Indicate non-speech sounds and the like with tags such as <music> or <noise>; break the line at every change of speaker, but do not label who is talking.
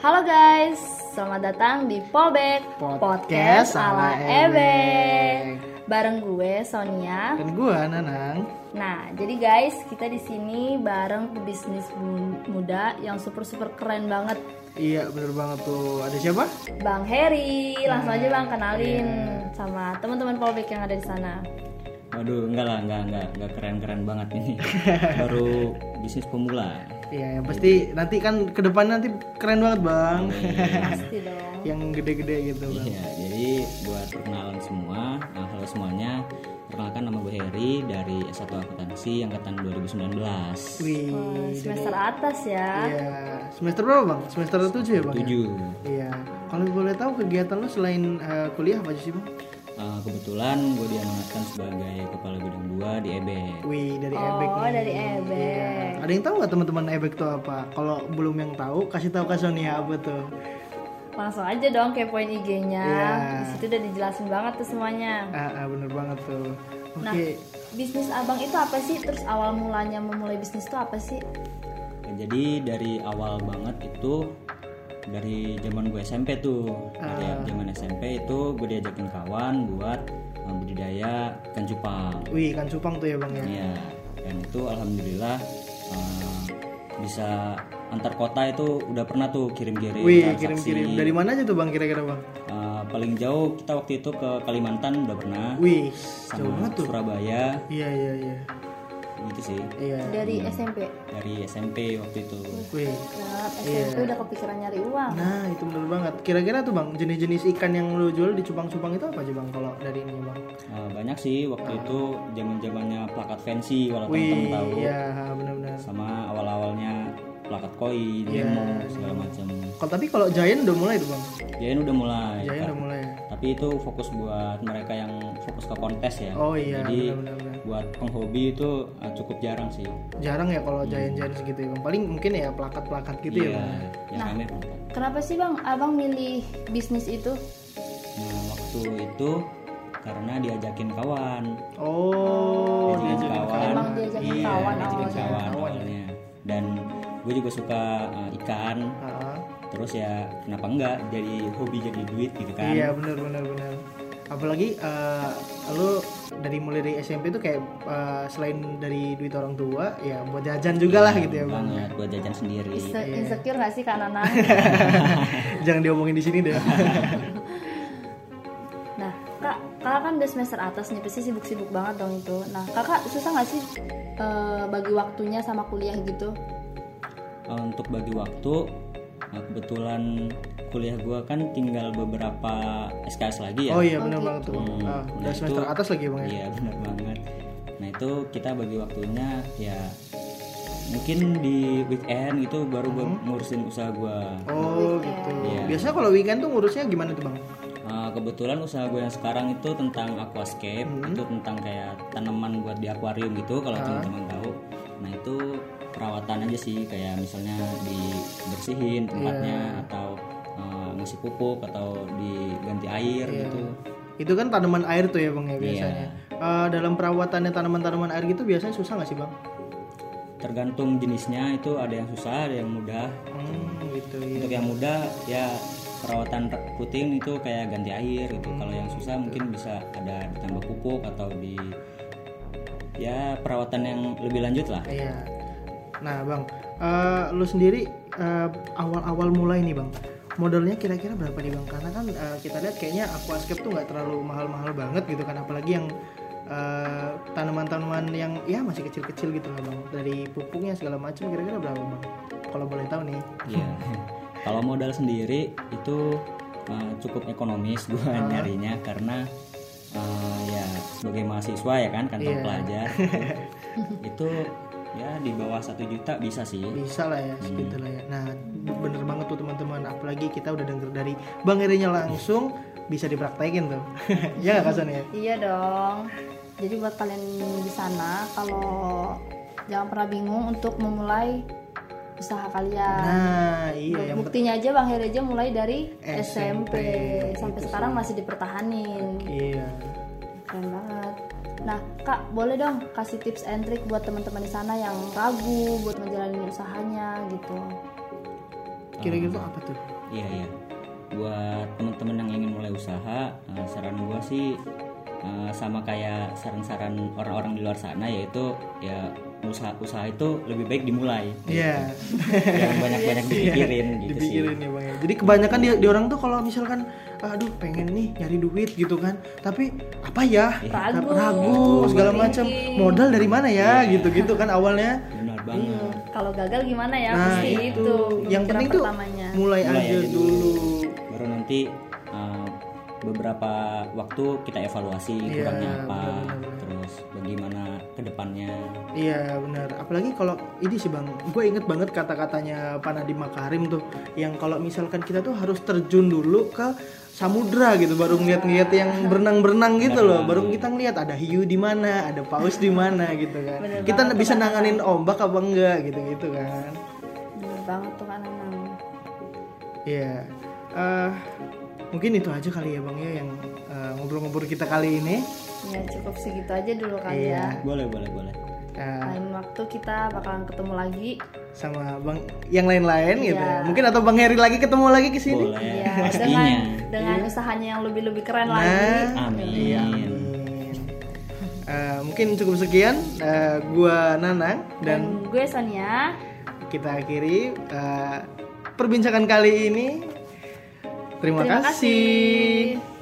Halo guys, selamat datang di Polbek
Podcast ala Ebek.
Bareng gue Sonia.
Dan gue Kan Nanang
Nah, jadi guys, kita di sini bareng pebisnis mu- muda yang super super keren banget.
Iya bener banget tuh Ada siapa?
Bang Heri, langsung aja Bang kenalin
Iya.
sama teman-teman Polbek yang ada di sana.
Waduh, enggak lah, enggak, enggak, enggak keren-keren banget ini. Baru bisnis pemula.
Iya yang pasti nanti kan ke depan nanti keren banget bang Iya.
Pasti dong.
<laughs> Yang gede-gede gitu bang
Iya, jadi buat perkenalan semua, nah, halo semuanya. Perkenalkan nama gue Heri dari S1 Akuntansi Angkatan 2019.
Wih
Wah, Semester atas ya.
Iya Semester berapa bang? Semester 7 ya bang? ya?
7.
Iya Kalau boleh tahu kegiatan lu selain eh, kuliah apa aja sih bang?
Eh, kebetulan gue diamanatkan sebagai Kepala Bidang 2 di E EBEK.
Wih dari Iya, Ebek Iya.
Oh,
nih
dari Ebek.
Ada yang tahu nggak teman-teman Ebek tuh apa? Kalau belum yang tahu kasih tahu ke Sonia apa tuh?
Langsung aja dong kepoin IG-nya.
Iya.
Di situ udah dijelasin banget tuh semuanya.
Ah, ah, bener banget tuh. Oke.
Nah, bisnis abang itu apa sih? Terus awal mulanya memulai bisnis itu apa sih?
Ya, Jadi dari awal banget itu dari zaman gue SMP tuh dari zaman SMP itu gue diajakin kawan buat eh, budidaya ikan cupang.
Wih kan cupang tuh ya bang ya.
Iya, dan itu alhamdulillah eh, bisa antar kota itu udah pernah tuh kirim-kirim
Wih
transaksi.
kirim-kirim dari mana aja tuh bang kira-kira bang?
Eh, paling jauh kita waktu itu ke Kalimantan udah pernah
Wih
sama
jauh banget tuh.
Surabaya
Iya iya iya
gitu sih
iya.
Dari SMP.
dari SMP waktu itu.
Wih.
Nah, SMP udah kepikiran nyari uang.
Nah itu bener banget. Kira-kira tuh bang jenis-jenis ikan yang lu jual di cupang-cupang itu apa aja bang? Kalau dari ini bang?
Eh, banyak sih waktu itu zaman-zamannya plakat fancy kalau teman-teman
Wih
tahu
iya bener-bener.
sama awal-awalnya plakat koin,
Iya.
demo segala macam.
Kalau tapi kalau giant udah mulai tuh bang.
Jain udah mulai.
Giant
Iya, Kak.
udah mulai. ya?
Tapi itu fokus buat mereka yang fokus ke kontes ya.
Oh iya
Jadi
bener-bener.
buat penghobi itu eh, cukup jarang sih.
Jarang ya kalau giant-giant segitu ya bang. Paling mungkin ya plakat-plakat gitu ya
Iya.
bang.
Nah.
yang kami kontes.
Kenapa sih bang abang milih bisnis itu?
Nah, waktu itu karena diajakin kawan.
Oh
diajakin kawan.
Emang diajakin
Iya,
kawan
diajakin
awalnya.
kawan awalnya. Dan gue juga suka eh, ikan.
Ah,
Terus ya kenapa enggak jadi hobi jadi duit gitu kan.
Iya benar benar benar. Apalagi eh, lu dari mulai dari SMP tuh kayak eh, selain dari duit orang tua ya buat jajan juga
Iya,
lah gitu ya bang.
banget buat jajan sendiri.
Se- Insecure gak sih kak Nana?
<laughs> Jangan diomongin di sini
<laughs>
deh.
nah kak, kakak kan udah semester atas nih pasti sibuk-sibuk banget dong itu. Nah kakak susah gak sih eh, bagi waktunya sama kuliah gitu?
Uh, untuk bagi waktu uh, kebetulan kuliah gua kan tinggal beberapa SKS lagi ya
Oh iya benar banget tuh. Bang.
Hmm,
Ah, udah
nah
semester
itu-
atas lagi ya, bang ya.
iya benar banget nah itu kita bagi waktunya ya mungkin di weekend itu baru gua
Hmm.
ngurusin usaha gua
Oh gitu.
Iya.
Biasanya kalau weekend tuh ngurusnya gimana tuh bang?
Uh, kebetulan usaha gua yang sekarang itu tentang aquascape
Hmm.
itu tentang kayak tanaman buat di akuarium gitu kalau
Ah.
teman-teman tahu nah itu perawatan aja sih kayak misalnya
Iya.
dibersihin tempatnya atau uh, ngasih pupuk atau diganti air
Iya.
gitu
Itu kan tanaman air tuh ya bang
Iya.
ya biasanya. Eh, dalam perawatannya tanaman-tanaman air gitu biasanya susah nggak sih bang?
tergantung jenisnya itu ada yang susah ada yang mudah
Hmm gitu. Iya.
untuk yang mudah ya perawatan re- rutin itu kayak ganti air gitu kalau yang susah mungkin bisa ada ditambah pupuk atau di ya perawatan yang lebih lanjut lah
Iya. Nah, Bang, eh, lu sendiri eh, awal-awal mulai nih, Bang. Modalnya kira-kira berapa nih, Bang? Karena kan eh, kita lihat kayaknya aquascape tuh nggak terlalu mahal-mahal banget gitu kan, apalagi yang eh, tanaman-tanaman yang ya masih kecil-kecil gitu lah, Bang. Dari pupuknya segala macam kira-kira berapa, Bang? Kalau boleh tahu nih.
Iya. Kalau modal sendiri itu uh, cukup ekonomis gua nyarinya karena uh, ya sebagai mahasiswa ya kan kantor
Iya.
pelajar itu, itu ya di bawah satu juta bisa sih.
bisa lah ya segitu lah ya nah bener banget tuh teman-teman apalagi kita udah denger dari bang Erinya langsung bisa dipraktekin tuh <laughs> ya nggak kasan ya
Iya dong. Jadi buat kalian di sana kalau jangan pernah bingung untuk memulai usaha kalian.
nah iya yang
Buktinya aja Bang Heri aja mulai dari SMP,
SMP.
sampai sekarang masih dipertahanin.
iya
Keren banget. Nah, Kak, boleh dong kasih tips and trick buat teman-teman di sana yang ragu buat menjalani usahanya gitu.
kira-kira tuh apa tuh
Iya iya. Buat teman-teman yang ingin mulai usaha, eh, saran gua sih eh, sama kayak saran-saran orang-orang di luar sana yaitu ya usaha usaha itu lebih baik dimulai.
Iya
Jangan banyak-banyak dipikirin gitu sih.
dipikirin ya bang ya. Jadi kebanyakan dia, dia orang tuh kalau misalkan aduh pengen nih nyari duit gitu kan, tapi apa ya
Ragu.
ragu segala macam modal dari mana ya
Iya.
gitu-gitu kan awalnya.
Benar banget.
Kalau gagal gimana ya?
Hmm. Nah,
Pasti
itu.
itu.
Yang
pemikiran
penting tuh
pertamanya.
mulai,
Mulai
aja
aja
dulu.
Baru nanti eh, beberapa waktu kita evaluasi
Iya,
kurangnya apa,
benar-benar.
terus bagaimana kedepannya.
Iya benar. Apalagi kalau ini sih bang, gue inget banget kata-katanya Pak Nadiem Makarim tuh, yang kalau misalkan kita tuh harus terjun dulu ke samudra gitu, baru ngeliat-ngeliat yang berenang-berenang gitu loh, baru kita ngeliat ada hiu di mana, ada paus di mana gitu kan.
Bener
kita
banget,
bisa nanganin ombak apa enggak gitu-gitu kan.
Bener banget tuh kan Anang.
Iya. Eh, mungkin itu aja kali ya bang ya yang eh, ngobrol-ngobrol kita kali ini.
Ya cukup segitu aja dulu kali
Iya.
ya.
Boleh boleh boleh.
Eh,
Lain waktu kita bakalan ketemu lagi.
sama bang yang lain-lain gitu
Iya.
ya. Mungkin atau bang Heri lagi ketemu lagi ke sini.
Boleh.
Ya,
Pastinya.
dengan dengan usahanya yang lebih-lebih keren lagi.
Iya. Nah,
Amin.
iya, amin. Eh, mungkin cukup sekian. Eh, gua Nanang
Dan
dan
gue Sonia.
kita akhiri eh, perbincangan kali ini. Terima,
Terima
kasih.
kasih.